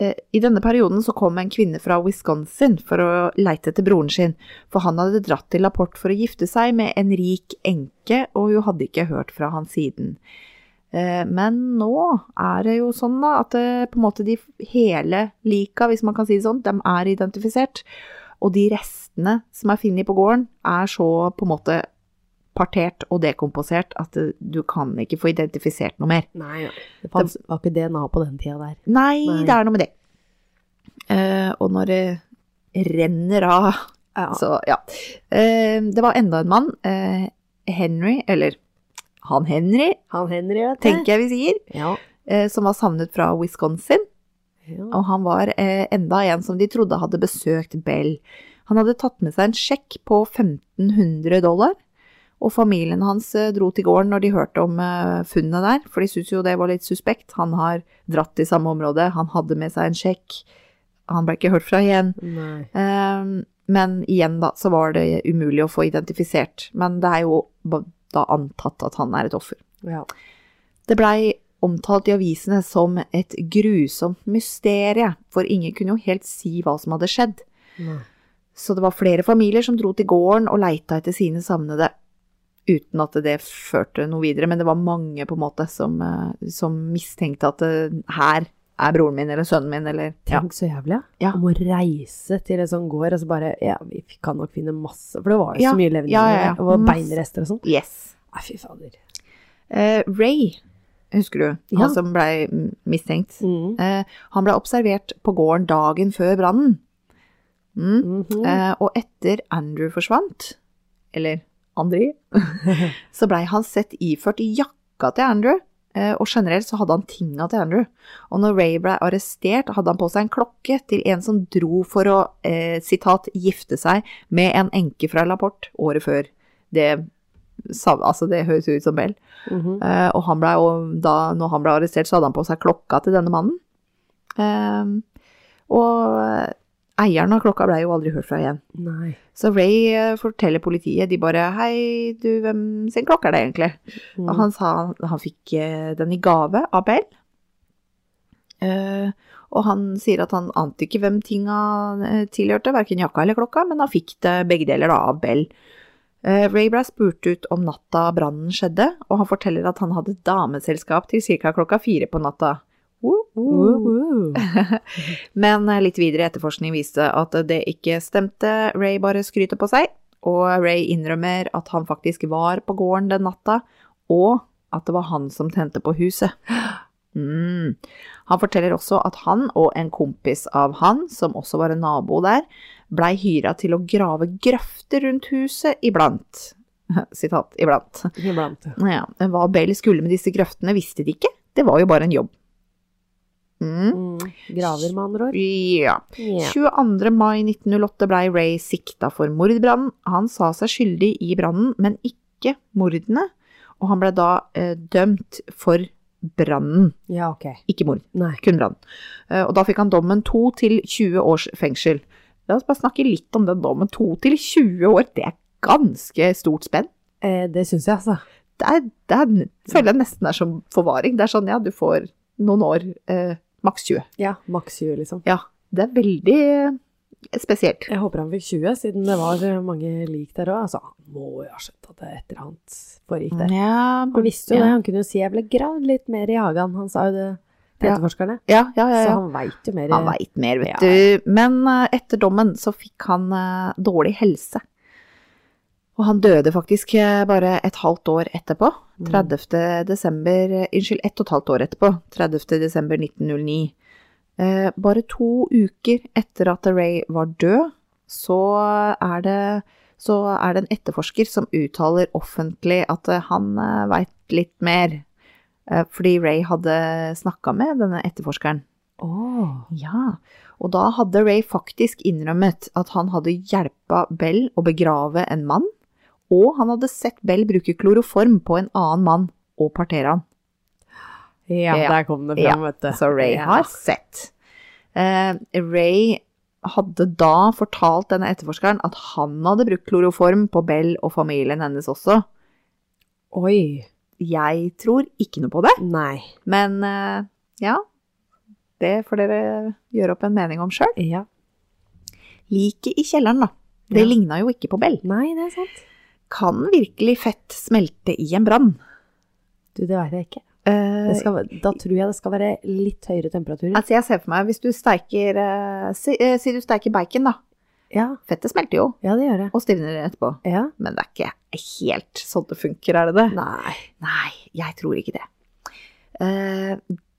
A: Eh, I denne perioden så kom en kvinne fra Wisconsin for å leite etter broren sin, for han hadde dratt til Laporte for å gifte seg med en rik enke, og hun hadde ikke hørt fra han siden. Eh, Men nå er det jo sånn da, at eh, på en måte de hele lika, hvis man kan si det sånn, de er identifisert. Og de restene som er funnet på gården, er så på en måte partert og dekomposert at eh, du kan ikke få identifisert noe mer.
B: Nei, ja. Det fanns, var ikke DNA på den tida der.
A: Nei,
B: Nei.
A: det er noe med det. Eh, og når det renner av,
B: Ja.
A: så ja. Eh, det var enda en mann, eh, Henry, eller han Henry,
B: Han Henry, vet du.
A: tenker jeg vi sier,
B: Ja.
A: eh, som var savnet fra Wisconsin.
B: ja.
A: Og han var eh, enda en som de trodde hadde besøkt Bell. Han hadde tatt med seg en sjekk på 1500 dollar. Og familien hans eh, dro til gården når de hørte om eh, funnet der, for de syntes jo det var litt suspekt. Han har dratt i samme område, han hadde med seg en sjekk. Han ble ikke hørt fra igjen.
B: Nei.
A: Ehm, men igjen, da, så var det umulig å få identifisert. Men det er jo ba- da antatt at han er et offer.
B: Ja.
A: Det blei omtalt i avisene som et grusomt mysterie, for ingen kunne jo helt si hva som hadde skjedd.
B: Nei.
A: Så det var flere familier som dro til gården og leita etter sine savnede, uten at det førte noe videre. Men det var mange på en måte som, eh, som mistenkte at eh, her er broren min eller sønnen min eller ja.
B: Tenk så jævlig,
A: Ja.
B: Om å reise til en sånn gård, og så bare Ja, vi kan nok finne masse For det var jo
A: Ja,
B: så mye levende
A: ja, ja, ja.
B: der, og
A: Masse.
B: beinrester og sånn.
A: Yes.
B: Nei, fy fader.
A: Eh, Ray, husker du?
B: Ja.
A: Han som blei mm, mistenkt.
B: Mm.
A: Eh, han blei observert på gården dagen før brannen. Mm.
B: Mhm.
A: Eh, og etter Andrew forsvant, eller André, så blei han sett iført jakka til Andrew, eh, og generelt så hadde han tinga til Andrew. Og når Ray blei arrestert, hadde han på seg en klokke til en som dro for å, eh, sitat, gifte seg med en enke fra Laporte året før. Det, sa- altså det høres jo ut som Bell.
B: Mhm.
A: Eh, og han ble, og da når han ble arrestert, så hadde han på seg klokka til denne mannen. Eh, og eieren av klokka ble jo aldri hørt fra igjen.
B: Nei.
A: Så Ray eh, forteller politiet, de bare 'Hei, du, hvem sin klokke er det egentlig?'
B: Mm.
A: Og han sa han, han fikk eh, den i gave av Bell. Eh, og han sier at han ante ikke hvem tinga eh, tilhørte, verken jakka eller klokka, men han fikk det begge deler da, av Bell. Eh, Ray ble spurt ut om natta brannen skjedde, og han forteller at han hadde dameselskap til ca. klokka fire på natta. Woo, woo.
B: Woohoo.
A: Men eh, litt videre etterforskning viste at det ikke stemte. Ray bare skryter på seg, og Ray innrømmer at han faktisk var på gården den natta, og at det var han som tente på huset. Mm. Han forteller også at han og en kompis av han, som også var en nabo der, blei hyra til å grave grøfter rundt huset iblant. Sitat iblant.
B: Iblant.
A: Ja, hva Bell skulle med disse grøftene, visste de ikke. Det var jo bare en jobb. Mm.
B: Mm. Graver, med andre ord.
A: Ja.
B: Ja.
A: 22. mai 1908 blei Ray sikta for mordbrannen. Han sa seg skyldig i brannen, men ikke mordene. Og han ble da eh, dømt for brannen,
B: ja, ok.
A: ikke mord,
B: Nei.
A: kun brann. Eh, og da fikk han dommen 2 til 20 års fengsel. La oss bare snakke litt om den dommen. 2 til 20 år, det er ganske stort spenn.
B: Eh, det syns jeg, altså.
A: Det, er, det er, føler jeg nesten er som forvaring. Det er sånn, ja, du får noen år, eh, maks 20.
B: Ja, maks 20, liksom.
A: Ja, det er veldig eh, spesielt.
B: Jeg håper han fikk 20, siden det var eh, mange lik der òg. Altså, han må jo ha skjønt at det er et eller annet foregikk der.
A: Ja,
B: Han visste jo
A: Mm. ja.
B: det, han kunne jo si 'jeg ble gravd litt mer i hagen', han sa jo det til
A: Ja.
B: etterforskerne.
A: Ja, ja, ja.
B: Så
A: ja.
B: han veit jo mer.
A: Han veit mer, vet
B: Ja.
A: du. Men eh, etter dommen så fikk han eh, dårlig helse. Og han døde faktisk eh, bare et halvt år etterpå.
B: Mm.
A: 30. desember, eh, unnskyld, ett og et halvt år etterpå. 30. desember 1909. Eh, bare to uker etter at Ray var død, så eh, er det, så er det en etterforsker som uttaler offentlig at eh, han eh, veit litt mer. Eh, fordi Ray hadde snakka med denne etterforskeren.
B: Åh.
A: Ja, og da hadde Ray faktisk innrømmet at han hadde hjelpa Bell å begrave en mann, og han hadde sett Bell bruke kloroform på en annen mann og partere han.
B: Ja,
A: Ja.
B: der kom det
A: Ja,
B: fram, vet du.
A: Så Ray
B: Ja.
A: har sett. Eh, Ray hadde da fortalt denne etterforskeren at han hadde brukt kloroform på Bell og familien hennes også.
B: Oi.
A: Jeg tror ikke noe på det,
B: Nei.
A: men eh, ja, det får dere gjøre opp en mening om sjøl.
B: Ja.
A: Liket i kjelleren, da. Det
B: Ja.
A: ligna jo ikke på Bell.
B: Nei, det er sant.
A: Kan virkelig fett smelte i en brann?
B: Du, det veit jeg ikke.
A: Eh,
B: Det skal, da tror jeg det skal være litt høyere temperaturer.
A: altså jeg ser for meg, hvis du steiker eh, si, eh, si du steiker bacon, da.
B: Ja,
A: Fettet smelter jo,
B: ja det gjør det.
A: og stivner etterpå.
B: Ja.
A: Men det er ikke helt sånn det funker, er det det?
B: Nei.
A: Nei, jeg tror ikke det. Eh,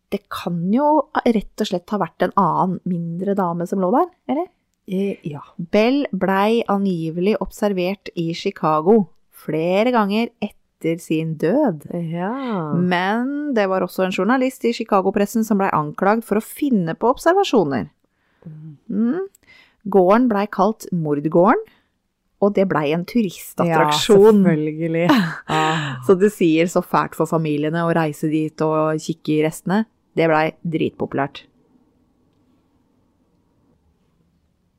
A: det kan jo rett og slett ha vært en annen mindre dame som lå der, eller?
B: Eh, Ja.
A: Bell blei angivelig observert i Chicago flere ganger etter sin død.
B: Ja.
A: Mm. Men det var også en journalist i Chicago-pressen som blei anklagd for å finne på observasjoner. Mm. Gården blei kalt Mordgården, og det blei en turistattraksjon.
B: Ja, selvfølgelig. Ah.
A: så det sier så fælt for familiene å reise dit og kikke i restene. Det blei dritpopulært.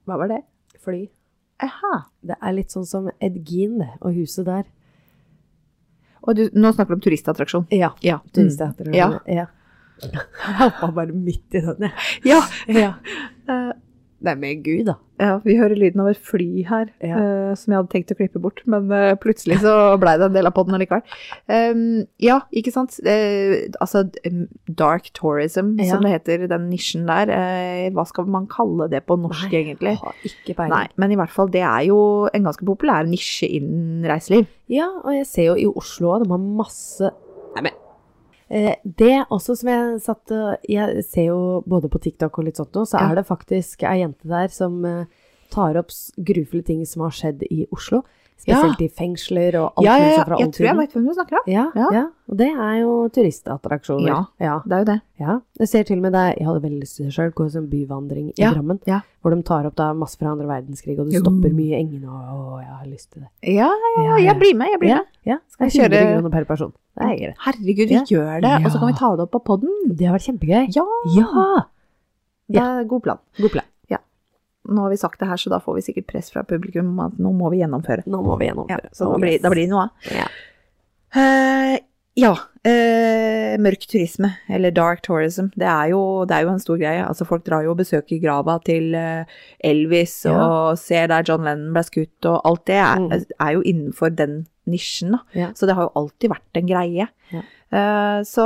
A: Hva var det?
B: Fly.
A: Aha.
B: Det er litt sånn som Edgin det, og huset der.
A: Og du, nå snakker du om turistattraksjon.
B: Ja.
A: Ja.
B: Turistheter.
A: Ja.
B: ja. Jeg hoppa bare midt i den, jeg.
A: Mm. Ja.
B: Ja.
A: eh,
B: Det er med Gud, da.
A: Ja, vi hører lyden av et fly her,
B: Ja.
A: eh, som jeg hadde tenkt å klippe bort, men eh, plutselig så blei det en del av podden allikevel. Ehm, ja, ikke sant? Eh, altså, d- dark tourism,
B: Ja.
A: som det heter, den nisjen der, eh, hva skal man kalle det på norsk
B: Nei,
A: egentlig?
B: Har ikke peiling.
A: Nei, men i hvert fall, det er jo en ganske populær nisje innen reiseliv.
B: Ja, og jeg ser jo i Oslo òg, de har masse Nei, men eh, Det også som jeg satt eh, Jeg ser jo både på TikTok og litt sånt nå, så
A: Ja.
B: er det faktisk ei jente der som eh, tar opp s- grufulle ting som har skjedd i Oslo. Spesielt i fengsler og alt
A: ja, ja,
B: mulig
A: ja,
B: sånt fra
A: jeg tror jeg
B: oldtiden.
A: vet hvem du snakker om.
B: Ja,
A: Ja.
B: ja. Og det er jo turistattraksjoner.
A: Ja.
B: ja.
A: Det er jo det.
B: Ja, jeg ser til og med det. Jeg hadde veldig lyst til det sjøl. Gå som byvandring i
A: Ja,
B: Drammen.
A: ja.
B: Hvor de tar opp da masse fra andre verdenskrig, og du
A: Jo.
B: stopper mye i engene og Å, jeg har lyst til det.
A: Ja, ja, jeg blir med, jeg blir
B: ja,
A: med.
B: ja, skal
A: Jeg
B: jeg kjøre 100
A: kjører-
B: kroner per person. Det er greit.
A: Herregud, vi
B: Ja.
A: gjør det, og så kan vi ta det opp på podden.
B: Det har vært kjempegøy.
A: Ja,
B: Ja!
A: det er god plan.
B: God plan.
A: nå har vi sagt det her, så da får vi sikkert press fra publikum om at nå må vi gjennomføre.
B: Nå må vi gjennomføre.
A: så da
B: Nå
A: blir,
B: må
A: da
B: vi-
A: blir det noe av.
B: Ja.
A: Eh, ja, eh, mørk turisme, eller dark tourism, det er, jo, det er jo en stor greie. Altså, folk drar jo og besøker grava til eh, Elvis, og ser der John Lennon ble skutt, og alt det er,
B: Mm.
A: er jo innenfor den nisjen. Da.
B: Ja.
A: Så det har jo alltid vært en greie.
B: Ja.
A: Eh, så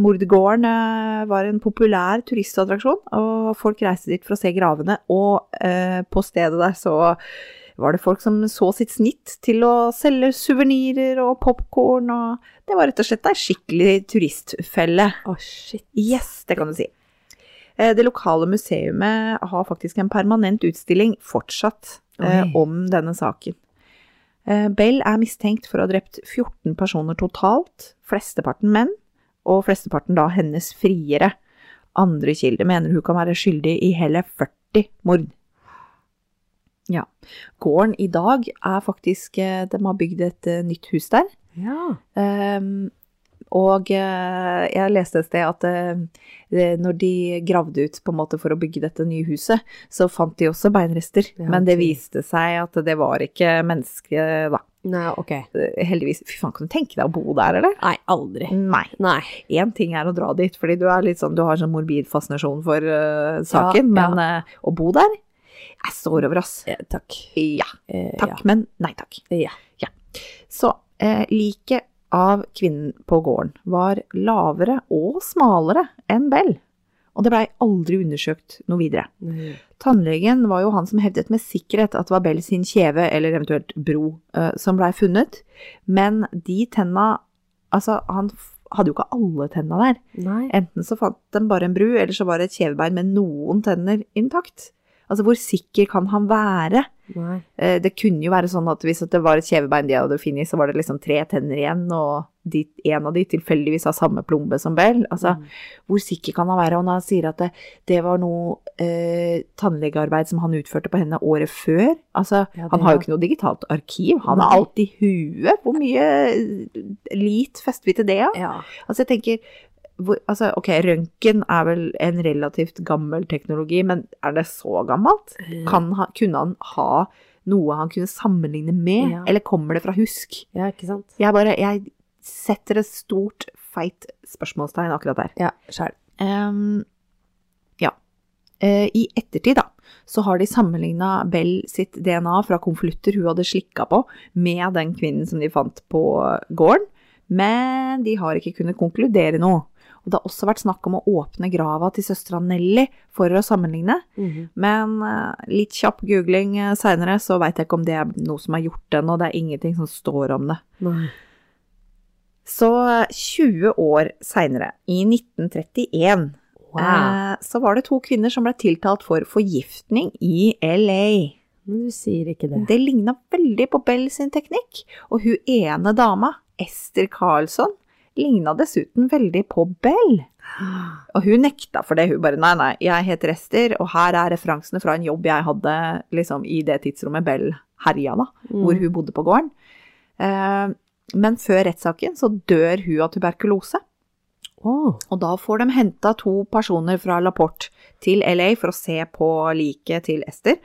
A: Mordgården eh, var en populær turistattraksjon, og folk reiste dit for å se gravene. Og eh, på stedet der så var det folk som så sitt snitt til å selge suvenirer og popkorn. Og det var rett og slett ei skikkelig turistfelle.
B: Å, shit.
A: Yes, det kan du si. Eh, Det lokale museumet har faktisk en permanent utstilling fortsatt eh,
B: Oi.
A: om denne saken. Eh, Bell er mistenkt for å ha drept 14 personer totalt, flesteparten menn, og flesteparten da hennes friere. Andre kilder mener hun kan være skyldig i hele 40 mord. Ja. Gården i dag er faktisk eh, De har bygd et eh, nytt hus der.
B: Ja.
A: Ehm, og eh, jeg leste et sted at eh, det- når de gravde ut på en måte for å bygge dette nye huset, så fant de også beinrester.
B: Ja,
A: men det
B: ok.
A: viste seg at det var ikke menneske, da.
B: Nei, ok.
A: Eh, Heldigvis. Fy faen, kan du tenke deg å bo der, eller?
B: Nei, aldri.
A: Nei.
B: Nei.
A: Én ting er å dra dit, fordi du, er litt sånn, du har sånn morbid fascinasjon for eh, saken,
B: Ja, ja.
A: men eh, å bo der Jeg står over, ass.
B: Eh, takk.
A: Ja.
B: Eh,
A: Takk, men nei takk.
B: Ja. ja.
A: Så eh, liket av kvinnen på gården var lavere og smalere enn Bell, og det blei aldri undersøkt noe videre.
B: Mm.
A: Tannlegen var jo han som hevdet med sikkerhet at det var Bell sin kjeve, eller eventuelt bro, eh, som blei funnet, men de tenna Altså, han f- hadde jo ikke alle tenna der.
B: Nei.
A: Enten så fant de bare en bru, eller så var det et kjevebein med noen tenner intakt. Altså, hvor sikker kan han være?
B: Nei.
A: Eh, Det kunne jo være sånn at hvis at det var et kjevebein de hadde funnet, så var det liksom tre tenner igjen, og de, en av de tilfeldigvis har samme plombe som Bell. Altså,
B: Mm.
A: hvor sikker kan han være? Og når han sier at det, det var noe eh, tannlegearbeid som han utførte på henne året før Altså,
B: Ja, det
A: han har
B: er-
A: jo ikke noe digitalt arkiv. Han
B: Nei.
A: har alt i huet. Hvor mye eh, lit fester vi til det, da?
B: Ja.
A: Altså, jeg tenker hvor, altså, Ok, røntgen er vel en relativt gammel teknologi, men er det så gammelt?
B: Mm.
A: Kan ha, kunne han ha noe han kunne sammenligne med,
B: Ja.
A: eller kommer det fra husk?
B: Ja, ikke sant?
A: Jeg bare jeg setter et stort, feit spørsmålstegn akkurat der.
B: Ja, sjæl.
A: Ehm, ja. Eh, I ettertid, da, så har de sammenligna Bell sitt DNA fra konvolutter hun hadde slikka på, med den kvinnen som de fant på gården, men de har ikke kunnet konkludere noe. Og det har også vært snakk om å åpne grava til søstera Nelly for å sammenligne, men eh, litt kjapp googling eh, seinere, så veit jeg ikke om det er noe som er gjort ennå, det er ingenting som står om det.
B: Nei.
A: Så eh, 20 år seinere, i 1931, Eh, Så var det to kvinner som ble tiltalt for forgiftning i LA.
B: Men du sier ikke det.
A: Det ligna veldig på Bell sin teknikk, og hun ene dama, Ester Carlsson, ligna dessuten veldig på Bell.
B: Mm.
A: Og hun nekta for det. Hun bare nei, nei, jeg heter Ester, og her er referansene fra en jobb jeg hadde liksom, i det tidsrommet Bell herja, da,
B: Mm.
A: hvor hun bodde på gården. Eh, Men før rettssaken så dør hun av tuberkulose.
B: Å,
A: Og da får de henta to personer fra Laporte til LA for å se på liket til Ester.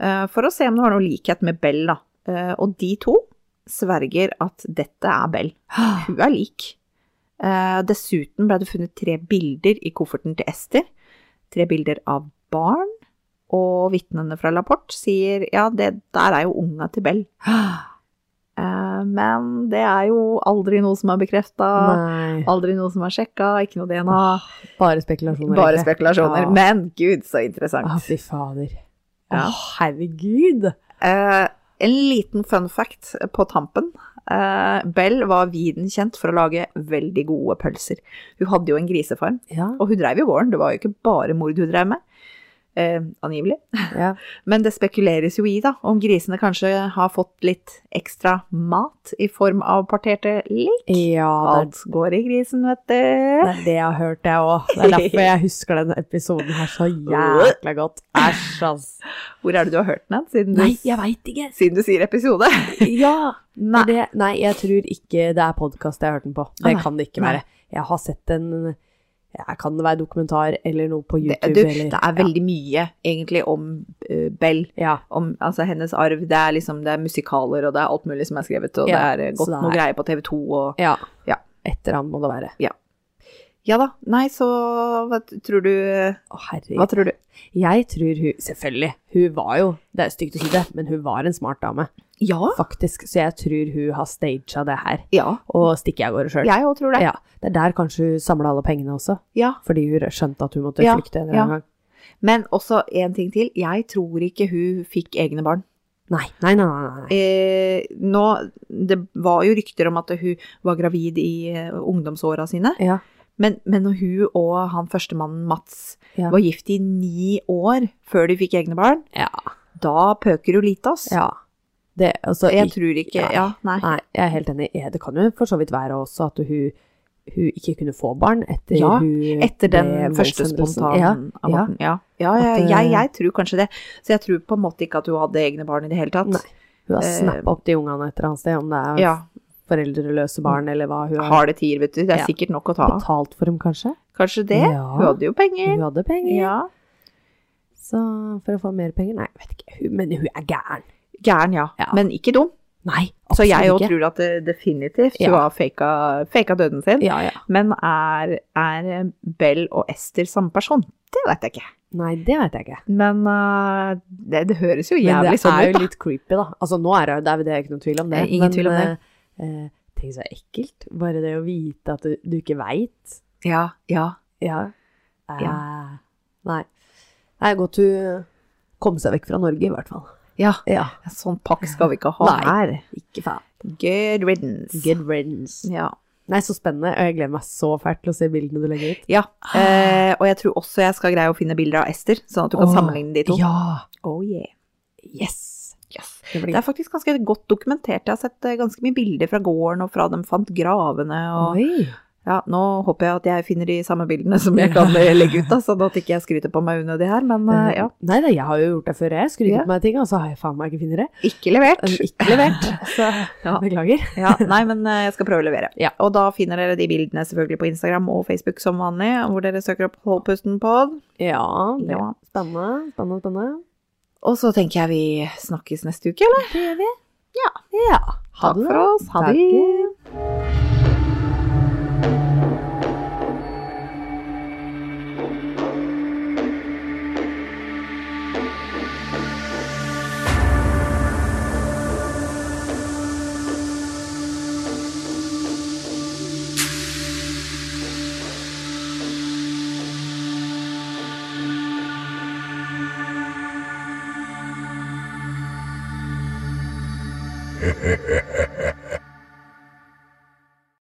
A: eh, For å se om det var noe likhet med Bell, da. Eh, Og de to sverger at dette er Bell. Hun er lik. Eh, Dessuten ble det funnet tre bilder i kofferten til Ester. Tre bilder av barn. Og vitnene fra Laporte sier ja, det der er jo unga til Bell. Eh, Men det er jo aldri noe som er bekrefta.
B: Nei.
A: Aldri noe som er sjekka, ikke noe DNA.
B: Bare spekulasjoner.
A: Bare
B: egentlig.
A: spekulasjoner.
B: Ja.
A: Men gud, så
B: Å,
A: interessant.
B: fy fader.
A: Ja.
B: Å, herregud!
A: Eh, en liten fun fact på tampen. Eh, Bell var viden kjent for å lage veldig gode pølser. Hun hadde jo en grisefarm,
B: Ja.
A: og hun drev jo gården. Det var jo ikke bare mord hun drev med. Eh, angivelig.
B: ja.
A: Men det spekuleres jo i da, om grisene kanskje har fått litt ekstra mat i form av parterte lik.
B: Ja, det
A: Alt går i grisen, vet du.
B: er, det er det jeg har hørt, jeg òg. Det er derfor jeg husker den episoden her så jækla godt. Æsj, ass.
A: Hvor er det du har hørt den, siden du,
B: veit ikke.
A: siden du sier episode?
B: Ja.
A: Nei.
B: Det, nei, jeg tror ikke det er podkast jeg har hørt den på.
A: Å,
B: Det
A: nei.
B: kan det ikke
A: Nei.
B: være. Jeg har sett en jeg Kan det være dokumentar eller noe på
A: Det,
B: YouTube?
A: du,
B: eller,
A: det er veldig mye egentlig om eh, Bell,
B: ja.
A: om altså, hennes arv. Det er, liksom, det er musikaler og det er alt mulig som er skrevet, og
B: Ja,
A: det er eh,
B: så
A: godt
B: det
A: noe
B: er-
A: greier på TV 2 og
B: ja.
A: Ja.
B: Etter han må det være.
A: Ja da, nei, så hva t- tror du
B: Å,
A: Hva
B: herregud.
A: tror du?
B: Jeg tror hun Selvfølgelig. Hun var jo Det er stygt å si det, men hun var en smart dame,
A: Ja.
B: faktisk. Så jeg tror hun har staged det her.
A: Ja,
B: Og stikker av gårde sjøl.
A: jeg òg tror det.
B: Ja, det er der kanskje hun samla alle pengene også,
A: Ja.
B: fordi hun skjønte at hun måtte
A: Ja,
B: flykte en eller annen gang.
A: Men også en ting til. Jeg tror ikke hun fikk egne barn.
B: Nei, nei, nei. nei, nei.
A: Eh, nå, det var jo rykter om at hun var gravid i eh, ungdomsåra sine.
B: Ja,
A: Men, men når hun og han førstemannen Mats
B: Ja.
A: var gift i ni år før de fikk egne barn,
B: Ja.
A: da pøker hun lite, ass.
B: ja. Det, altså,
A: Jeg tror ikke
B: Nei.
A: Ja, nei.
B: Nei, jeg er helt enig. Ja, Det kan jo for så vidt være også at hun, hun ikke kunne få barn etter
A: Ja,
B: hun
A: Etter den
B: ble
A: første
B: voldshendelsen.
A: spontanaborten. Ja, ja. ja,
B: liksom. At, eh,
A: jeg, jeg tror kanskje det. Så jeg tror på en måte ikke at hun hadde egne barn i det hele tatt.
B: Nei. Ja, hun har
A: Eh,
B: snappa opp de ungene et eller annet sted, om det er
A: Ja,
B: foreldreløse barn eller hva hun har
A: Harde tider, vet du. Det er
B: Ja.
A: sikkert nok å ta av.
B: betalt for dem, kanskje.
A: Kanskje det?
B: Ja.
A: Hun hadde jo penger.
B: Hun hadde penger,
A: Ja.
B: så for å få mer penger Nei, jeg vet ikke. Hun, men hun er gæren.
A: Gæren, ja.
B: Ja.
A: Men ikke dum.
B: Nei,
A: Så jeg òg
B: absolutt ikke.
A: tror at det definitivt
B: Ja.
A: hun har faka, faka døden sin.
B: Ja, ja.
A: Men er, er Bell og Ester samme person? Det vet jeg ikke.
B: Nei, det veit jeg ikke.
A: Men øh, det, det høres jo
B: Men
A: jævlig
B: det
A: sånn
B: er
A: ut,
B: jo
A: da.
B: litt creepy, da. Altså, nå er det, det er jo det er ikke noen tvil om det.
A: Eh, ingen tvil om det.
B: eh, eh, Tenk så ekkelt. Bare det å vite at du, du ikke veit.
A: Ja, ja.
B: Ja. Eh,
A: Ja.
B: Nei. Det er godt hun kom seg vekk fra Norge, i hvert fall.
A: Ja,
B: Ja.
A: sånn pakk skal vi ikke ha
B: Nei.
A: her.
B: Ikke faen.
A: Good riddance.
B: Good riddance.
A: Ja.
B: Nei, så spennende. Og jeg gleder meg så fælt til å se bildene du legger ut.
A: Ja, eh, og jeg tror også jeg skal greie å finne bilder av Ester, sånn at du kan
B: Åh,
A: sammenligne de to.
B: Ja!
A: Oh yeah.
B: Yes!
A: Yes.
B: Det blir
A: Det er faktisk ganske godt dokumentert. Jeg har sett eh, ganske mye bilder fra gården og fra de fant gravene. Og
B: Oi!
A: ja, nå håper jeg at jeg finner de samme bildene som jeg kan eh, legge ut, da, sånn at ikke jeg skryter på meg unødig her. Men eh, ja,
B: Nei da, jeg har jo gjort det før. Jeg skryter
A: Ja.
B: på meg ting, og så har jeg faen meg ikke funnet det.
A: ikke levert.
B: Eh, Ikke levert. Så
A: Ja.
B: beklager.
A: Ja, nei, men eh, jeg skal prøve å levere.
B: Ja.
A: Og da finner dere de bildene selvfølgelig på Instagram og Facebook som vanlig, hvor dere søker opp Holdpusten pod.
B: Ja, det
A: Ja.
B: Spennende, spennende, spennende.
A: Og så tenker jeg vi snakkes neste uke, eller?
B: Det gjør vi.
A: Ja.
B: ja. Ha
A: Takk
B: det.
A: for oss. Ha det.
B: Takk.